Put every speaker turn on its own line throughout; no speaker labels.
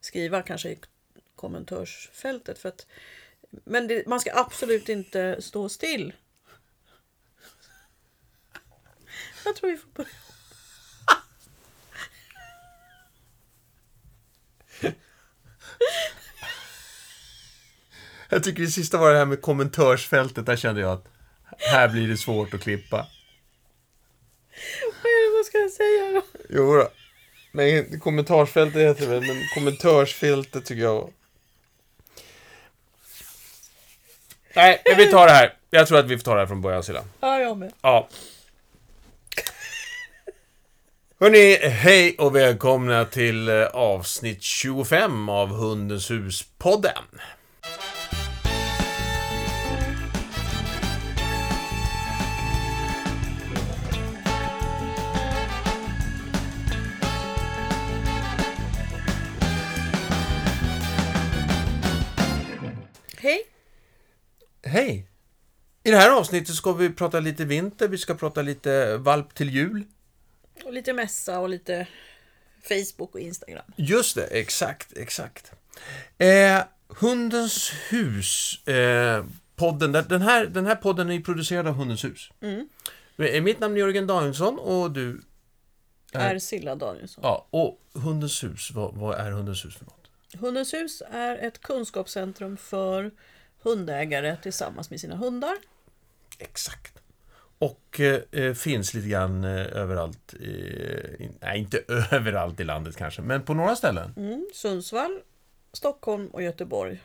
skriva kanske i kommentarsfältet. För att, men det, man ska absolut inte stå still. Jag tror vi får börja.
Jag tycker det sista var det här med kommentarsfältet. Där kände jag att här blir det svårt att klippa.
Vad är det man ska säga då?
Jo då. Men kommentarsfältet heter det väl, men kommentarsfältet tycker jag. Nej, men vi tar det här. Jag tror att vi får ta det här från början Silla.
Ja, jag med.
Ja. Hörni, hej och välkomna till eh, avsnitt 25 av Hundens hus-podden.
Hej!
Hej! I det här avsnittet ska vi prata lite vinter, vi ska prata lite valp till jul.
Och lite mässa och lite Facebook och Instagram.
Just det, exakt, exakt. Eh, Hundens hus, eh, podden, där- den här, den här podden är ju producerad av Hundens hus. Eh, Mitt namn är Jörgen Danielsson och du,
Är Silla Danielsson.
ja, och Hundens hus, vad, vad är Hundens hus för något?
Hundens hus är ett kunskapscentrum för hundägare tillsammans med sina hundar.
Exakt. Och eh, eh, finns lite grann eh, överallt, eh, in- nej inte överallt i landet kanske, men på några ställen.
Mm, Sundsvall, Stockholm och Göteborg.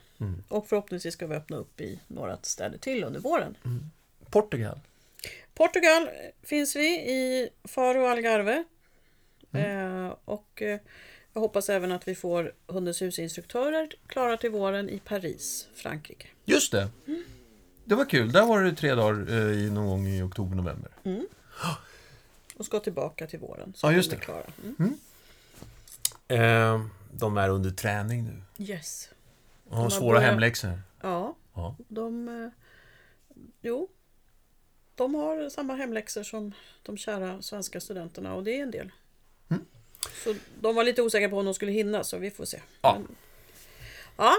Och förhoppningsvis ska vi öppna upp i några städer till under våren.
Portugal.
Portugal finns vi i Faro och Algarve.
Mm.
Eh, och eh, jag hoppas även att vi får Hundens hus-instruktörer klara till våren i Paris, Frankrike.
Just det. Det var kul. Där var det tre dagar eh, i- någon gång i oktober, november.
Och ska tillbaka till våren. Så
Ja,
blir
just
vi
det.
Klara. Mm.
Eh, de är under träning nu.
Yes.
Och har
har
svåra
börjat-
hemläxor.
Ja,
Ja.
de... eh, Jo. De har samma hemläxor som de kära svenska studenterna och det är en del.
Mm.
Så de var lite osäkra på om de skulle hinna så vi får se.
Ja.
Men- Ja,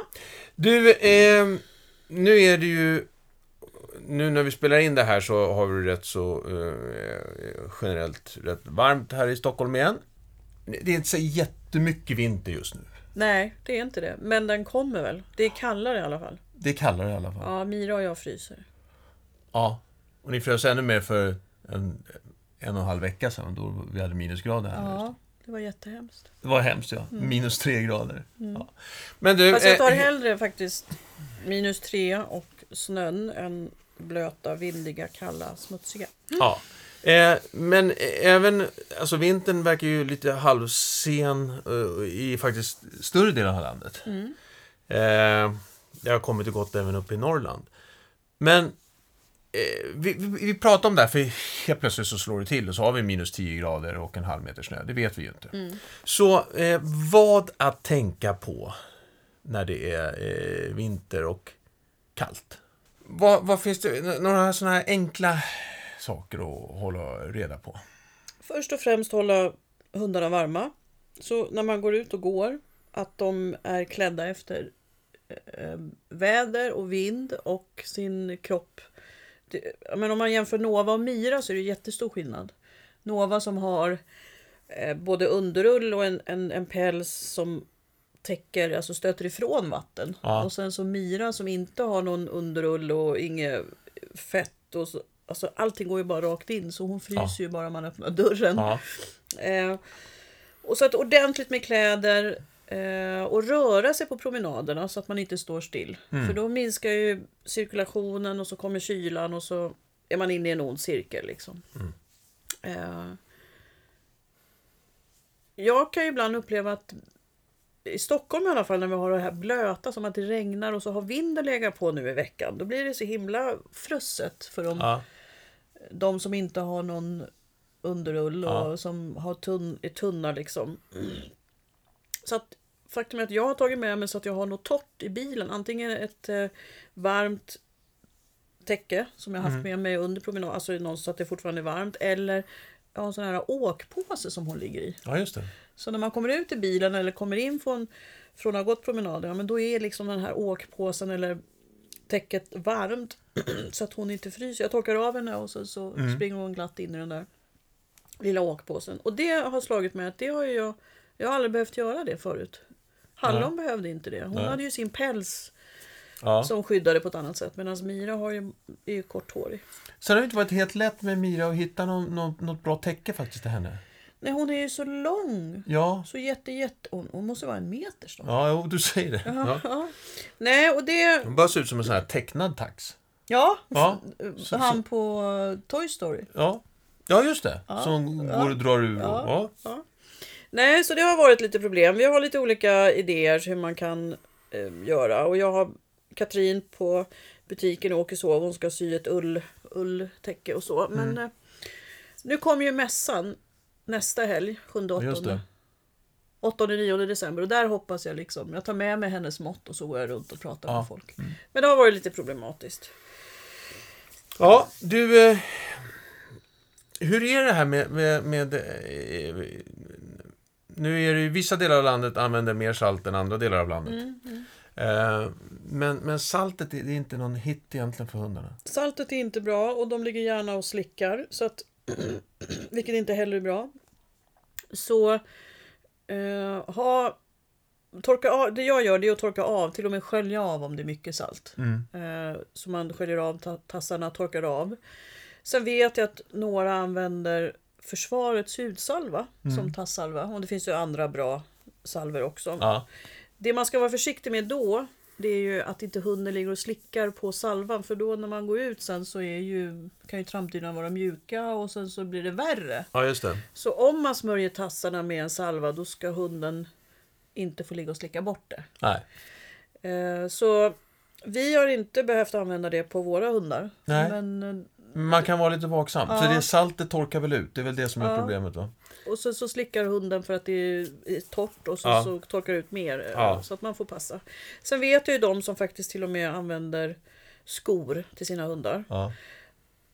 Du, eh, nu är det ju... Nu när vi spelar in det här så har vi rätt så eh, generellt rätt varmt här i Stockholm igen. Det är inte så jättemycket vinter just nu.
nej det är inte det. Men den kommer väl. Det är kallare i alla fall.
Det är kallare i alla fall. Ja.
Ja, Mira och jag fryser.
Och ni frös ännu mer för en, en och en halv vecka sedan då vi hade minusgrader här. nu.
Ja, det var jättehemskt.
Det var hemskt ja. Minus tre grader. Ja. Men du...
Mm. Fast Alltså, jag tar
eh,
hellre faktiskt minus tre och snön än blöta, vindiga, kalla, smutsiga.
Ja. Eh, men även, alltså vintern verkar ju lite halvsen eh, i faktiskt större delen av landet.
Mm.
Eh, det har kommit och gått även upp i Norrland. Men eh, vi, vi, vi pratar om det här för helt plötsligt så slår det till och så har vi minus 10 grader och en halv meter snö. Det vet vi ju inte.
Mm.
Så eh, vad att tänka på när det är eh, vinter och kallt? Vad, vad finns det, n- några sådana här enkla saker att hålla reda på.
Först och främst hålla hundarna varma. Så när man går ut och går, att de är klädda efter eh, väder och vind och sin kropp. Det, ja, men om man jämför Nova och Mira så är det jättestor skillnad. Nova som har eh, både underull och en, en, en päls som täcker, alltså stöter ifrån vatten.
Ja.
Och sen så Mira som inte har någon underull och inget fett. Och så, alltså allting går ju bara rakt in så hon fryser ju bara man öppnar dörren.
Ja.
Eh, och så att ordentligt med kläder eh, och röra sig på promenaderna så att man inte står still. För då minskar ju cirkulationen och så kommer kylan och så är man inne i en ond cirkel. Liksom. Eh, jag kan ju ibland uppleva att i Stockholm i alla fall när vi har det här blöta som att det regnar och så har vinden legat på nu i veckan. Då blir det så himla frusset för de
Ja.
de som inte har någon underull och som har tunn, är tunna liksom. Så att faktum är att jag har tagit med mig så att jag har något torrt i bilen. Antingen ett eh, varmt täcke som jag haft med mig under promenaden, alltså någon så att det fortfarande är varmt. Eller har en sån här åkpåse som hon ligger i.
Ja, just det.
Så när man kommer ut i bilen eller kommer in från, från att ha gått promenader, ja, men då är liksom den här åkpåsen eller täcket varmt så att hon inte fryser. Jag torkar av henne och så, så
Mm.
springer hon glatt in i den där lilla åkpåsen. Och det har slagit mig att det har ju jag, jag har aldrig behövt göra det förut. Hallon behövde inte det. Hon
Nej.
hade ju sin päls
Ja.
som skyddade på ett annat sätt medan Mira har ju, är ju korthårig.
Sen har det inte varit helt lätt med Mira att hitta någon, någon, något bra täcke faktiskt till henne.
Nej, hon är ju så lång.
Ja,
Så jätte, jätte... Hon, hon måste vara en meter snart.
ja jo, du säger det. Ja.
Ja. Nej, och det...
Hon bara ser ut som en sån här tecknad tax.
Ja,
Ja, så-
han på eh, Toy Story.
Ja, ja just det. Som går och drar ur. Och, ja.
Ja. Nej, så det har varit lite problem. Vi har lite olika idéer hur man kan eh, göra. Och jag har Katrin på butiken och Åkeshov. Hon ska sy ett ull, ulltäcke och så. Men
Mm.
eh, nu kommer ju mässan nästa helg, 7
Ja, Just
8
det.
8-9 december och där hoppas jag liksom, jag tar med mig hennes mått och så går jag runt och pratar
Ja. Mm.
med folk. Men det har varit lite problematiskt.
Ja, du... Eh, hur är det här med... med, med eh, nu är det ju vissa delar av landet använder mer salt än andra delar av landet. Eh, men, men saltet är, det är inte någon hit egentligen för hundarna.
Saltet är inte bra och de ligger gärna och slickar, så att, vilket inte heller är bra. Så eh, ha, torka av, det jag gör det är att torka av, till och med skölja av om det är mycket salt. Eh, så man sköljer av ta, tassarna, torkar av. Sen vet jag att några använder försvarets hudsalva som tassalva. Och det finns ju andra bra salver också.
Ja,
Det man ska vara försiktig med då det är ju att inte hunden ligger och slickar på salvan för då när man går ut sen så är ju, kan ju trampdynorna vara mjuka och sen så blir det värre.
ja just det.
Så om man smörjer tassarna med en salva då ska hunden inte få ligga och slicka bort det.
Nej.
Eh, Så vi har inte behövt använda det på våra hundar.
Nej.
Men, eh,
Man kan vara lite vaksam. Så det är saltet torkar väl ut. Det är väl det som är problemet va?
och sen så slickar hunden för att det är torrt och så,
Ja.
så torkar det ut mer. eh,
Ja.
Så att man får passa. Sen vet jag ju de som faktiskt till och med använder skor till sina hundar.
Ja,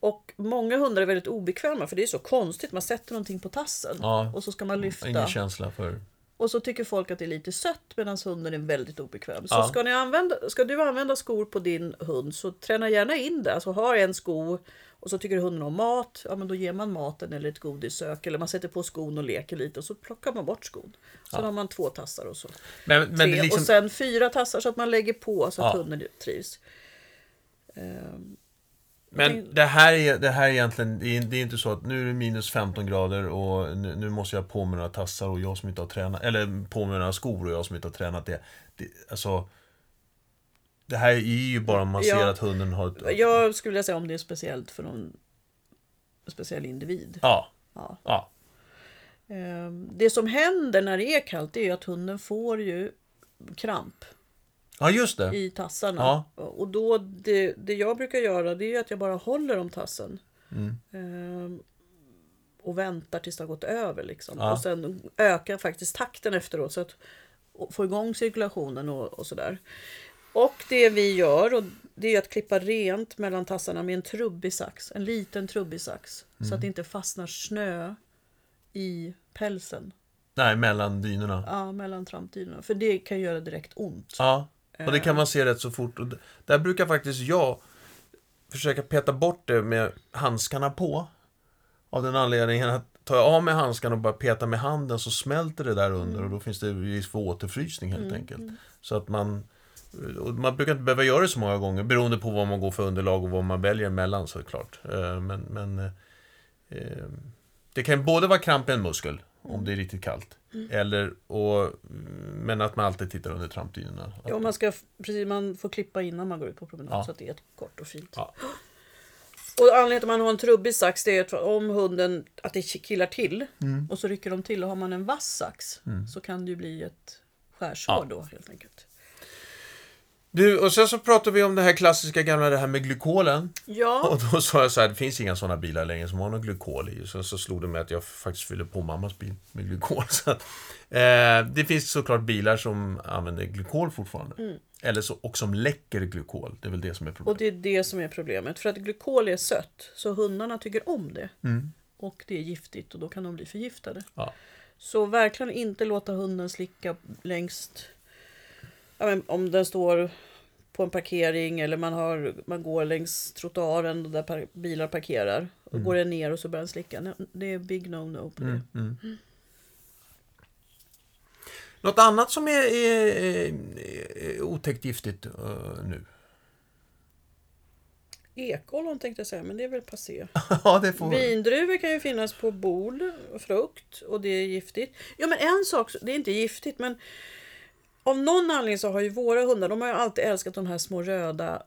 Och många hundar är väldigt obekväma för det är så konstigt. Man sätter någonting på tassen
Ja.
och så ska man
ingen
lyfta.
känsla för...
Och så tycker folk att det är lite sött medan hunden är väldigt obekväm. Så
Ja.
ska, ni använda, ska du använda skor på din hund så träna gärna in det. Alltså ha en sko och så tycker hunden om mat. Ja men då ger man maten eller ett godissök eller man sätter på skon och leker lite och så plockar man bort skon. Sen har man två tassar och så.
Men, men
Tre,
det är liksom...
Och sen fyra tassar så att man lägger på så att
Ja.
hunden trivs. Ehm,
Men det här är, det här är egentligen, det är, det är inte så att nu är det minus 15 grader och nu, nu måste jag på mig några tassar och jag som inte har tränat, eller på mig några skor och jag som inte har tränat det. det alltså, det här är ju bara om man
Ja.
ser att hunden har ett...
Jag skulle vilja säga om det är speciellt för någon speciell individ.
Ja,
Ja.
ja,
Ehm, Det som händer när det är kallt det är ju att hunden får ju kramp
ja just det.
i tassarna.
Ja.
Och då, det, det jag brukar göra det är ju att jag bara håller om tassen.
Mm.
Ehm, Och väntar tills det har gått över. Liksom.
Ja.
Och sen ökar faktiskt takten efteråt. Så att och få igång cirkulationen och, och sådär. Och det vi gör och det är att klippa rent mellan tassarna med en trubbig sax. En liten trubbig sax. Så
Mm.
att det inte fastnar snö i pälsen.
Nej, mellan dynorna.
Ja, mellan trampdynorna. För det kan göra direkt ont.
Ja, och det kan man se rätt så fort. Och d- där brukar faktiskt jag försöka peta bort det med handskarna på. Av den anledningen att tar jag av mig handskarna och bara petar med handen så smälter det där under och då finns det risk för återfrysning helt enkelt. Så att man och man brukar inte behöva göra det så många gånger beroende på vad man går för underlag och vad man väljer mellan såklart. Eh, Men, men eh, eh, det kan både vara kramp i en muskel om det är riktigt kallt. Eller, och, mm, men att man alltid tittar under trampdynorna. Att-
Ja, man, ska, precis, man får klippa innan man går ut på promenad
Ja.
så att det är kort och fint.
Ja.
Och anledningen till att man har en trubbig sax det är att om hunden att det killar till
Mm.
och så rycker de till och har man en vass sax så kan det ju bli ett skärsår
Ja.
då helt enkelt.
Du, och sen så pratade vi om det här klassiska gamla, det här med glykolen.
Ja,
Och då sa jag så här, det finns inga sådana bilar längre som har någon glykol i. Så, så slog det mig att jag faktiskt fyller på mammas bil med glykol. Så att, eh, det finns såklart bilar som använder glykol fortfarande. Eller så, och som läcker glykol. Det är väl det som är
och
problemet. Mm.
det är det som är problemet. För att glykol är sött så hundarna tycker om det. och det är giftigt och då kan de bli förgiftade.
Ja.
Så verkligen inte låta hunden slicka längst, ja, men om den står på en parkering eller man, har, man går längs trottoaren där par, bilar parkerar. Och
Mm.
Går den ner och så börjar den slicka. Nej, Det är big no-no på det.
Mm, mm. Något annat som är, är, är, är otäckt giftigt eh, nu?
Ekollon tänkte jag säga, men det är väl passé.
ja, det får
Vindruvor kan ju finnas på bord och frukt och det är giftigt. Ja men en sak, det är inte giftigt men av någon anledning så har ju våra hundar, de har ju alltid älskat de här små röda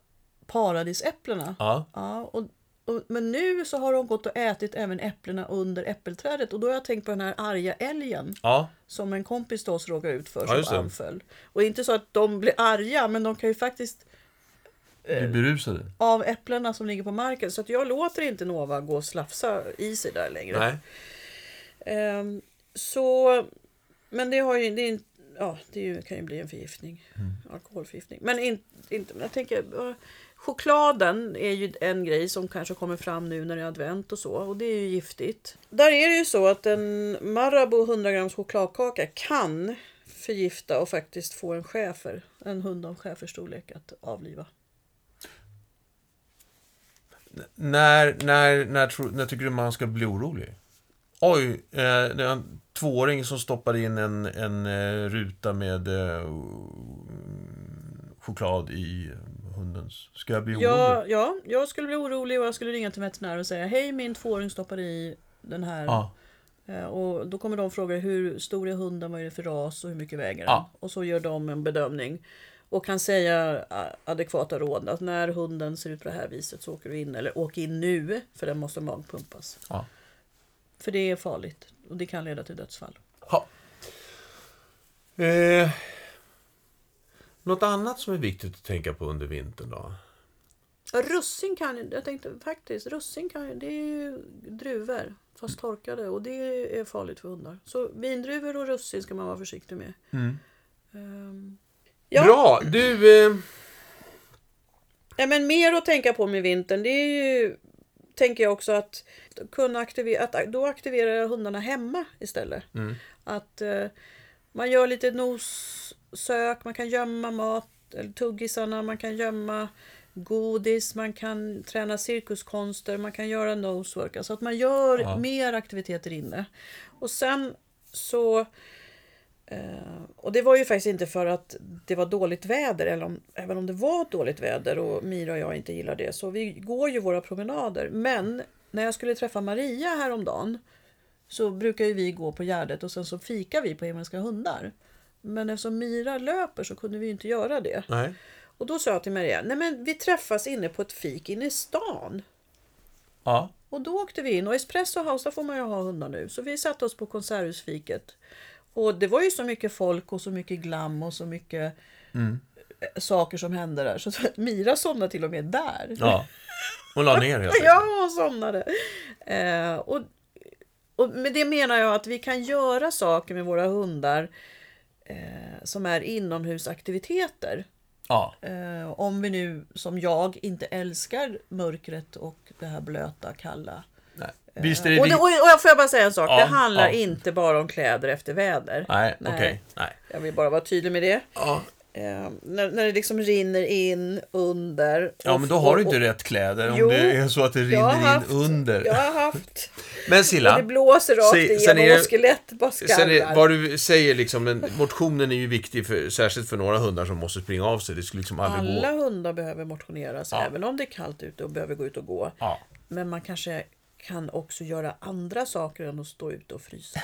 paradisäpplena.
Ja,
Ja, och, och, men nu så har de gått och ätit även äpplena under äppelträdet och då har jag tänkt på den här arga älgen
ja,
som en kompis till oss råkade ut för
Ja, just
som
det.
anföll. Och inte så att de blir arga men de kan ju faktiskt
vi är berusade.
av äpplena som ligger på marken. Så att jag låter inte Nova gå och slafsa i sig där längre.
Nej.
Ehm, så, men det, har ju, det, är, in- ja, det är ju, kan ju bli en förgiftning.
Mm.
Alkoholförgiftning. Men in, inte, men jag tänker, eh, chokladen är ju en grej som kanske kommer fram nu när det är advent och så. Och det är ju giftigt. Där är det ju så att en Marabou 100 grams chokladkaka kan förgifta och faktiskt få en schäfer, en hund av schäferstorlek att avliva.
När, när, när, tro, när tycker du man ska bli orolig? Oj, eh, det är en tvååring som stoppar in en, en eh, ruta med eh, mm, choklad i hundens. Ska jag bli orolig?
Ja, ja, jag skulle bli orolig och jag skulle ringa till veterinär och säga hej min tvååring stoppade i den här.
Ja,
Eh, Och då kommer de fråga hur stor är hunden, vad är det för ras och hur mycket väger den?
Ja.
Och så gör de en bedömning och kan säga eh, adekvata råd. Att när hunden ser ut på det här viset så åker du in eller åk in nu för den måste magpumpas.
ja.
För det är farligt och det kan leda till dödsfall.
Ha. Eh, något annat som är viktigt att tänka på under vintern då?
Ja, Russin kan ju, jag tänkte faktiskt, russin kan ju, det är ju druvor fast torkade och det är farligt för hundar. Så vindruvor och russin ska man vara försiktig med. Ehm, Ja.
Bra! Du, eh,
Nej, men mer att tänka på med vintern, det är ju, tänker jag också att, kunna aktivera, att då aktiverar jag hundarna hemma istället.
Mm.
Att eh, man gör lite nossök, man kan gömma mat, eller tuggisarna, man kan gömma godis, man kan träna cirkuskonster, man kan göra nosework. Alltså att man gör
Ja.
mer aktiviteter inne. Och sen så Eh, och det var ju faktiskt inte för att det var dåligt väder, eller om, även om det var dåligt väder och Mira och jag inte gillar det, så vi går ju våra promenader. Men när jag skulle träffa Maria häromdagen så brukar ju vi gå på Gärdet och sen så fikar vi på Himmelska hundar. Men eftersom Mira löper så kunde vi ju inte göra det.
nej.
Och då sa jag till Maria, nej men vi träffas inne på ett fik inne i stan.
Ja.
Och då åkte vi in och Espresso House, där får man ju ha hundar nu. Så vi satte oss på konserthusfiket. Och det var ju så mycket folk och så mycket glam och så mycket eh, saker som hände där. Så Mira somnade till och med där.
ja. Hon la ner helt
Ja, hon somnade. Eh, och, och med det menar jag att vi kan göra saker med våra hundar eh, som är inomhusaktiviteter.
Ja.
Eh, om vi nu, som jag, inte älskar mörkret och det här blöta, kalla.
Nej. Visst är det
Och, det,
vi-
och, och jag får jag bara säga en sak,
Ja,
det handlar
ja.
inte bara om kläder efter väder.
Nej,
Nej.
okej. Nej.
Jag vill bara vara tydlig med det.
Ja.
Eh, när, när det liksom rinner in under.
ja,
och-
men då har du
och-
inte rätt kläder om
Jo,
det är så att det
jag har
rinner
haft-
in under.
Jag har haft.
Men
Och
Silla,
det blåser rakt
Se-
igenom
sen är det-
och skelett bara
sen är,
skallar.
vad du säger liksom, men motionen är ju viktig för, särskilt för några hundar som måste springa av sig. Det skulle liksom aldrig
Alla
gå.
hundar behöver motioneras,
Ja.
även om det är kallt ute och behöver gå ut och gå.
Ja.
Men man kanske kan också göra andra saker än att stå ute och frysa.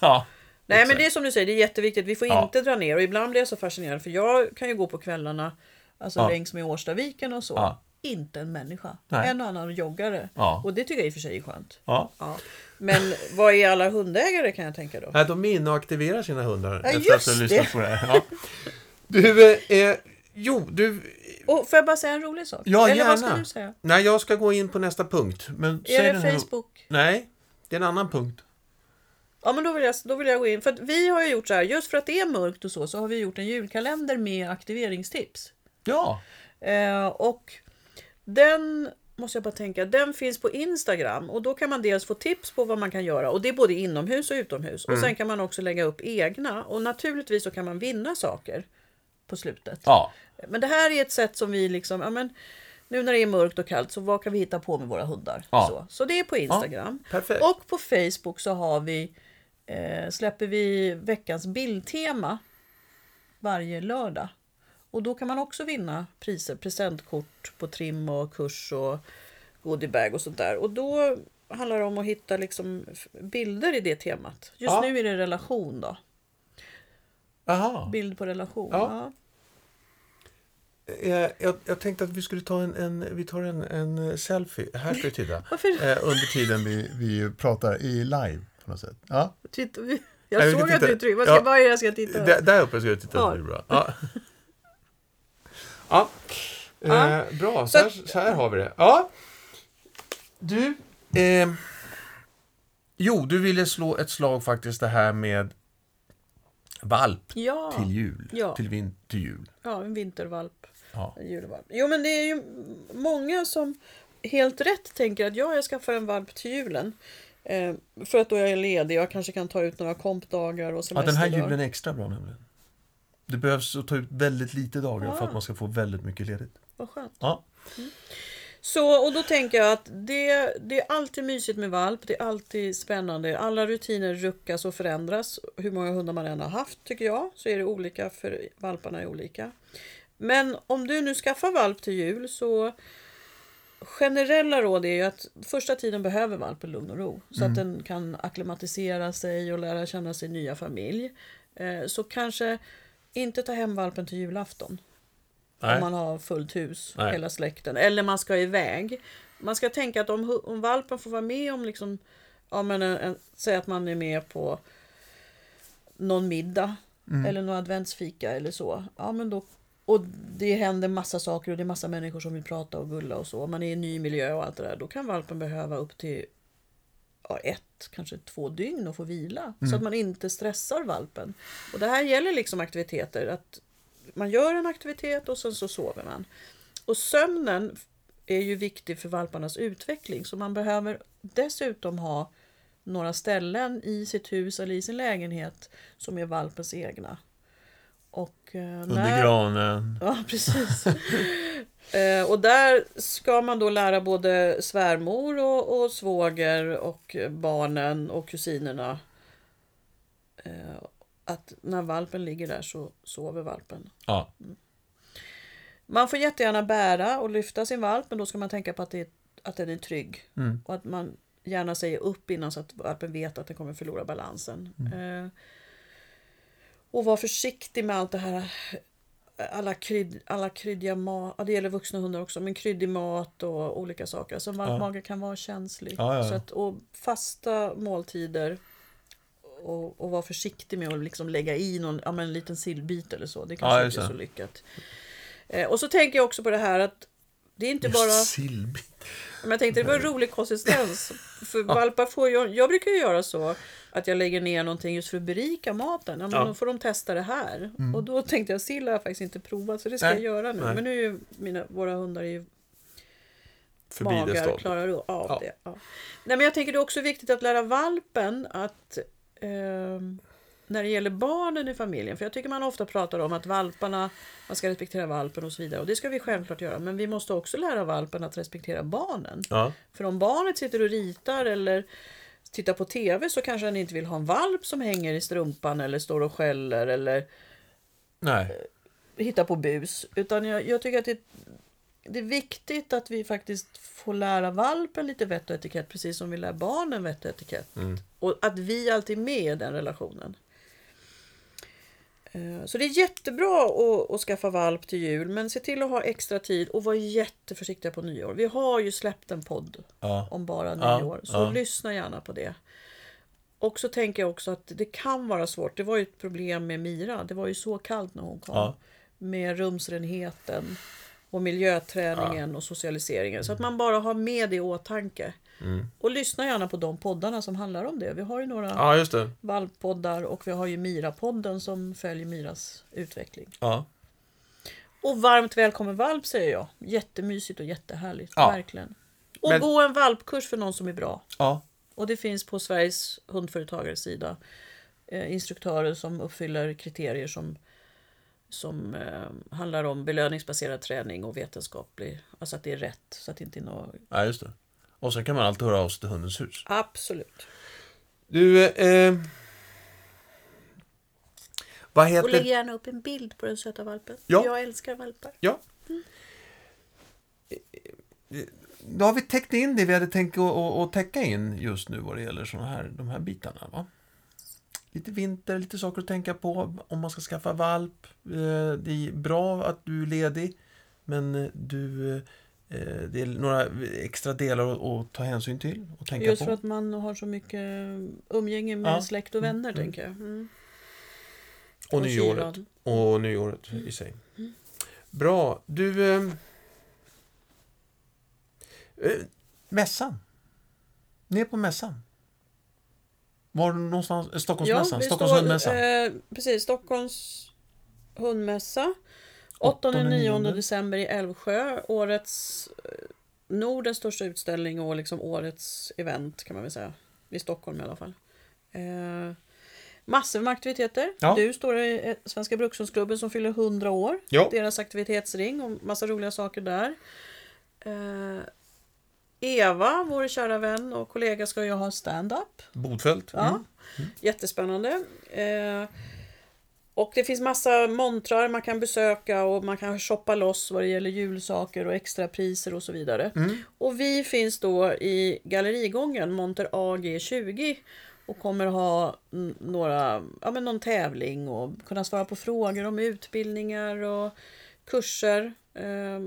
ja.
Nej men det är som du säger, det är jätteviktigt. Vi får
Ja.
inte dra ner och ibland blir jag så fascinerad för jag kan ju gå på kvällarna alltså
Ja.
längs med Årstaviken och så.
Ja.
Inte en människa.
Nej.
En och annan joggare.
Ja.
Och det tycker jag i och för sig är skönt.
Ja.
Ja. Men vad är alla hundägare kan jag tänka då?
Nej, de är inne och aktiverar sina hundar
Ja,
efter att du
just
lyssnat
det.
på det här. Ja. Du, eh, eh, jo, du...
Och får jag bara säga en rolig sak?
Ja,
Eller
gärna.
vad ska du säga?
Nej, jag ska gå in på nästa punkt. Men säg
Är
den
det
här-
Facebook?
Nej, det är en annan punkt.
Ja men då vill, jag, då vill jag gå in. För att vi har ju gjort så här, just för att det är mörkt och så, så har vi gjort en julkalender med aktiveringstips.
Ja.
Eh, och den måste jag bara tänka, den finns på Instagram och då kan man dels få tips på vad man kan göra och det är både inomhus och utomhus. Och sen kan man också lägga upp egna och naturligtvis så kan man vinna saker på slutet.
Ja.
Men det här är ett sätt som vi liksom, ja men nu när det är mörkt och kallt så vad kan vi hitta på med våra hundar?
Ja.
Så. så det är på Instagram.
perfekt.
och på Facebook så har vi, eh, släpper vi veckans bildtema varje lördag. Och då kan man också vinna priser, presentkort på trim och kurs och goodiebag och sånt där. Och då handlar det om att hitta liksom f- bilder i det temat. Just
Ja.
nu är det relation då.
Aha.
Bild på relation.
Ja. Eh, Jag, jag tänkte att vi skulle ta en, en, vi tar en, en selfie. Här ska vi titta.
Varför?
Eh, under tiden vi, vi pratar i live på något sätt. Ja.
Titta,
Nej,
jag
vi
såg
tittar.
att du tryckte. Vad, ska,
Ja.
vad är det jag ska titta
Där, där uppe ska vi titta.
Ja.
Det blir bra. Ja. ja.
Ja.
Eh, bra, så här, så här har vi det. Ja. Du, eh, jo, du ville slå ett slag faktiskt det här med valp
Ja,
till jul.
Ja.
Till, vin- till jul.
ja, en vintervalp.
Ja.
En julvalp. Jo, men det är ju många som helt rätt tänker att ja, jag skaffar en valp till julen. Eh, för att då är jag ledig. Jag kanske kan ta ut några kompdagar och
Ja, den här
semesterdagar.
julen är extra bra nämligen. Det behövs att ta ut väldigt lite dagar för att man ska få väldigt mycket ledigt.
Vad skönt.
Ja.
Så, och då tänker jag att det, det är alltid mysigt med valp. Det är alltid spännande. Alla rutiner ruckas och förändras. Hur många hundar man än har haft tycker jag. Så är det olika för valparna är olika. Men om du nu skaffar valp till jul så generella råd är ju att första tiden behöver valpen lugn och ro. Så att den kan akklimatisera sig och lära känna sin nya familj. Eh, Så kanske inte ta hem valpen till julafton. Om
Nej.
man har fullt hus,
Nej.
hela släkten. Eller man ska iväg. Man ska tänka att om, hu- om valpen får vara med om liksom, ja men en, en, säg att man är med på någon middag
Mm.
eller någon adventsfika eller så. Ja men då, och det händer massa saker och det är massa människor som vill prata och gulla och så. Om man är i en ny miljö och allt det där. Då kan valpen behöva upp till ja, ett, kanske två dygn och få vila.
Mm.
Så att man inte stressar valpen. Och det här gäller liksom aktiviteter. Att man gör en aktivitet och sen så sover man. Och sömnen är ju viktig för valparnas utveckling. Så man behöver dessutom ha några ställen i sitt hus eller i sin lägenhet som är valpens egna. Och, eh,
Under
när-
granen.
Ja, precis. Eh, och där ska man då lära både svärmor och, och svåger och barnen och kusinerna eh, att när valpen ligger där så sover valpen.
Ja.
Man får jättegärna bära och lyfta sin valp men då ska man tänka på att, det är, att den är trygg.
Mm.
Och att man gärna säger upp innan så att valpen vet att den kommer förlora balansen.
Mm.
Eh, och var försiktig med allt det här. Alla, krydd, alla kryddiga mat, ja, det gäller vuxna hundar också, men kryddig mat och olika saker. Alltså en valpmage kan vara känslig.
Ja, ja, ja.
Så att, och fasta måltider och, och var försiktig med att liksom lägga i någon, ja, men en liten sillbit eller så. Det kanske
Ja, just
inte är
det.
så lyckat. Eh, och så tänker jag också på det här att det är inte bara...
Sillbit.
Men jag tänkte det var en rolig konsistens. För valpar får ju, jag brukar ju göra så att jag lägger ner någonting just för att berika maten. Ja, men
Ja. Mm.
Då får de testa det här. Och då tänkte jag sill har jag faktiskt inte provat så det ska
Nej.
jag göra nu.
Nej.
Men nu är ju mina, våra hundar är ju
Förbi det
magar
stadiet.
klarar av
Ja.
det. Ja. Nej, men jag tänker det är också viktigt att lära valpen att ehm, när det gäller barnen i familjen, för jag tycker man ofta pratar om att valparna, man ska respektera valpen och så vidare och det ska vi självklart göra, men vi måste också lära valpen att respektera barnen.
Ja.
För om barnet sitter och ritar eller tittar på TV så kanske den inte vill ha en valp som hänger i strumpan eller står och skäller eller
Nej.
hitta på bus. Utan jag, jag tycker att det, det är viktigt att vi faktiskt får lära valpen lite vett och etikett precis som vi lär barnen vett och etikett. Och att vi alltid är med i den relationen. Eh, Så det är jättebra att, att skaffa valp till jul men se till att ha extra tid och var jätteförsiktiga på nyår. Vi har ju släppt en podd
Ja.
om bara
Ja,
nyår så
ja.
lyssna gärna på det. Och så tänker jag också att det kan vara svårt. Det var ju ett problem med Mira. Det var ju så kallt när hon kom.
Ja.
Med rumsrenheten och miljöträningen och socialiseringen. Så att man bara har med det i åtanke. Och lyssna gärna på de poddarna som handlar om det. Vi har ju några
Mm. ja, just det.
valppoddar och vi har ju Mira-podden som följer Miras utveckling.
Ja.
Och varmt välkommen valp säger jag. Jättemysigt och jättehärligt.
Ja.
Verkligen. Och
Men-
gå en valpkurs för någon som är bra.
Ja.
Och det finns på Sveriges hundföretagares sida eh, instruktörer som uppfyller kriterier som, som eh, handlar om belöningsbaserad träning och vetenskaplig, alltså att det är rätt så att det inte är något...
ja, just det. Och sen kan man alltid höra av sig till Hundens hus.
Absolut.
Du, eh... Vad
Och
heter...
lägg gärna upp en bild på den söta valpen.
Ja.
Jag älskar valpar.
Ja. Då har vi täckt in det vi hade tänkt att, att, att täcka in just nu vad det gäller såna här, de här bitarna. Va? Lite vinter, lite saker att tänka på om man ska skaffa valp. Eh, Det är bra att du är ledig, men du, eh, det är några extra delar att, att ta hänsyn till och tänka
Just
på.
för att man har så mycket umgänge med
Ja.
släkt och vänner, tänker jag. Mm.
Och nyåret.
kylan.
Och nyåret
Mm.
i sig. Bra. Du... Eh, eh, mässan. Ner på mässan. Var någonstans? eh, Stockholmsmässan?
vi
Stockholms
står,
hundmässa?
Eh, precis, Stockholms hundmässa.
Åttonde,
8-9
nionde.
december i Älvsjö. Årets, eh, Nordens största utställning och liksom årets event kan man väl säga. I Stockholm i alla fall. Eh, massor med aktiviteter.
Ja.
Du står i eh, Svenska Brukshundsklubben som fyller 100 år.
Ja.
Deras aktivitetsring och massa roliga saker där. Eh, Eva, vår kära vän och kollega, ska ju ha stand-up.
Bodfält? Mm.
Ja. Jättespännande. Eh, och det finns massa montrar man kan besöka och man kan shoppa loss vad det gäller julsaker och extrapriser och så vidare. Och vi finns då i Gallerigången, Monter AG20 och kommer ha mm, några, ja, men någon tävling och kunna svara på frågor om utbildningar och kurser. Eh,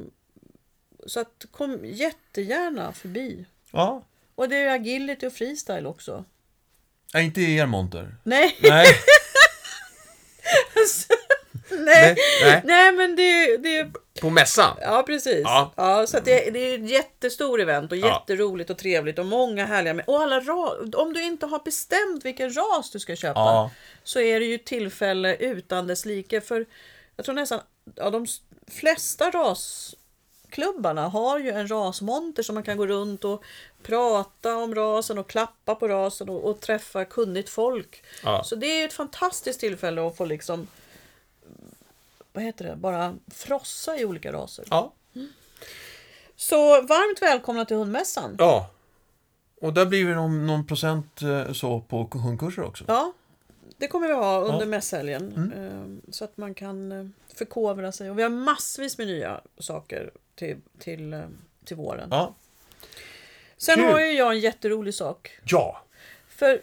så att kom jättegärna förbi.
Ja.
Och det är ju agility och freestyle också.
Nej, inte i er monter.
Nej,
Nej.
nej.
nej, nej.
Nej men det, det
På mässan?
ja precis.
Ja.
Ja. så att det, det är ett jättestort event och
Ja.
jätteroligt och trevligt och många härliga med- och alla ra- Om du inte har bestämt vilken ras du ska köpa
Ja.
så är det ju ett tillfälle utan dess like för jag tror nästan ja, de s- flesta rasklubbarna har ju en rasmonter som man kan gå runt och prata om rasen och klappa på rasen och, och träffa kunnigt folk.
Ja.
Så det är ju ett fantastiskt tillfälle att få liksom vad heter det, bara frossa i olika raser.
Ja.
Så varmt välkomna till hundmässan.
ja. Och där blir det någon, någon procent eh, så på hundkurser också.
Ja, det kommer vi ha under
Ja. Mm.
mässhelgen. eh, Så att man kan eh, förkovra sig. Och vi har massvis med nya saker till, till, eh, till våren.
Ja.
Sen
kul.
har ju jag en jätterolig sak.
Ja,
För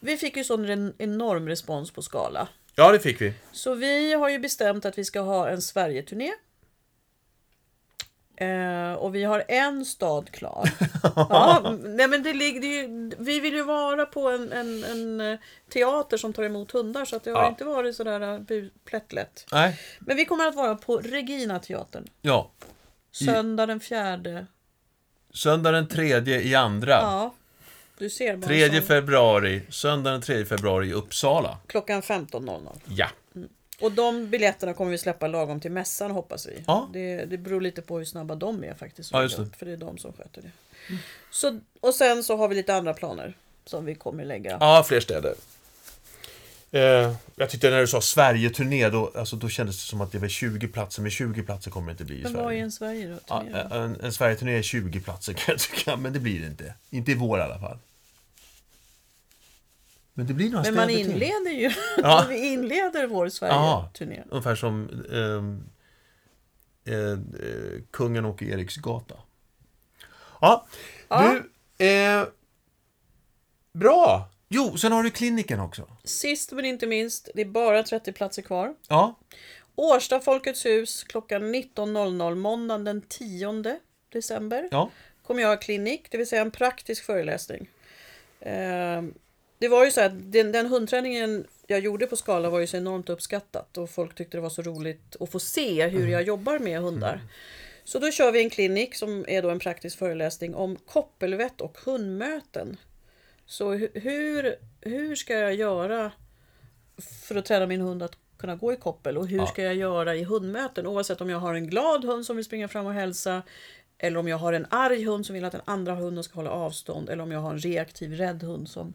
vi fick ju sån en enorm respons på Skala.
ja det fick vi.
Så vi har ju bestämt att vi ska ha en Sverige-turné. Eh, och vi har en stad klar. ja, m- nej men det ligger det är ju, vi vill ju vara på en, en, en eh, teater som tar emot hundar så att det har
Ja.
inte varit sådär eh, bu- plättlätt.
Nej.
Men vi kommer att vara på Regina teatern
Ja.
söndag den fjärde.
Söndag den tredje i andra.
Ja, du ser. bara
Tredje
så.
februari, söndag den 3 februari i Uppsala.
Klockan 15.00.
Ja.
Och de biljetterna kommer vi släppa lagom till mässan hoppas vi.
Ja.
Det, det beror lite på hur snabba de är faktiskt.
Ja, just det.
För det är de som sköter det. Så, och sen så har vi lite andra planer som vi kommer lägga.
Ja, fler städer. Eh, jag tyckte när du sa Sverige-turné, då, alltså, då kändes det som att det var 20 platser, men 20 platser kommer det inte bli i
Men vad är
Sverige.
en Sverige då?
Ja, eh,
turné?
en, en Sverige-turné är 20 platser kan jag tycka, men det blir det inte. Inte i vår i alla fall. Men det blir några
Men man
städer till.
inleder ju.
Ja.
vi inleder vår
Ja.
Sverige-turné.
Ungefär som ehm, eh, eh, kungen och Eriksgata. Ja,
Ja.
du. Eh, bra! Jo, sen har du kliniken också.
Sist men inte minst, det är bara 30 platser kvar.
Ja,
Årsta Folkets hus klockan 19.00 måndagen den 10 december.
ja.
kommer jag ha klinik, det vill säga en praktisk föreläsning. Ehm, Det var ju så att den, den hundträningen jag gjorde på Skala var ju så enormt uppskattat och folk tyckte det var så roligt att få se hur jag jobbar med hundar. Så då kör vi en klinik som är då en praktisk föreläsning om koppelvett och hundmöten. Så hu- hur, hur ska jag göra för att träna min hund att kunna gå i koppel och hur ska jag göra i hundmöten oavsett om jag har en glad hund som vill springa fram och hälsa Eller om jag har en arg hund som vill att den andra hunden ska hålla avstånd. Eller om jag har en reaktiv rädd hund som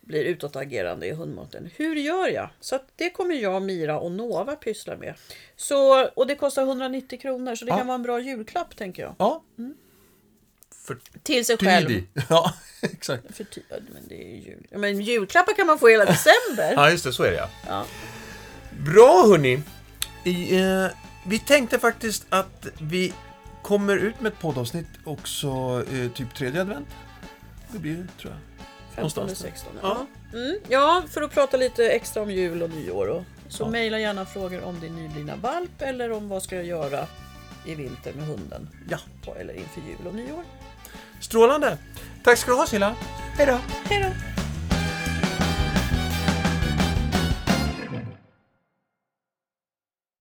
blir utåtagerande i hundmaten. Hur gör jag? Så att det kommer jag, Mira och Nova pyssla med. Så, och det kostar 190 kronor så det
Ja.
kan vara en bra julklapp tänker jag.
Ja. För
Till sig Mm. själv.
tidig. Ja, exakt.
För ty- ja, men det är ju jul. Ja, men julklappar kan man få hela december.
Ja, just det. Så är det ja.
Ja.
Bra hörni! I, eh, vi tänkte faktiskt att vi kommer ut med ett poddavsnitt också eh, typ tredje advent. Det blir det, tror jag.
15 eller
Någonstans.
16.
Ja.
Ja. Mm, ja, för att prata lite extra om jul och nyår. Och, så
Ja.
mejla gärna frågor om din nyblivna valp eller om vad ska jag göra i vinter med hunden.
Ja.
Eller inför jul och nyår.
Strålande! Tack ska du ha Silla! Hej då!
Hej då!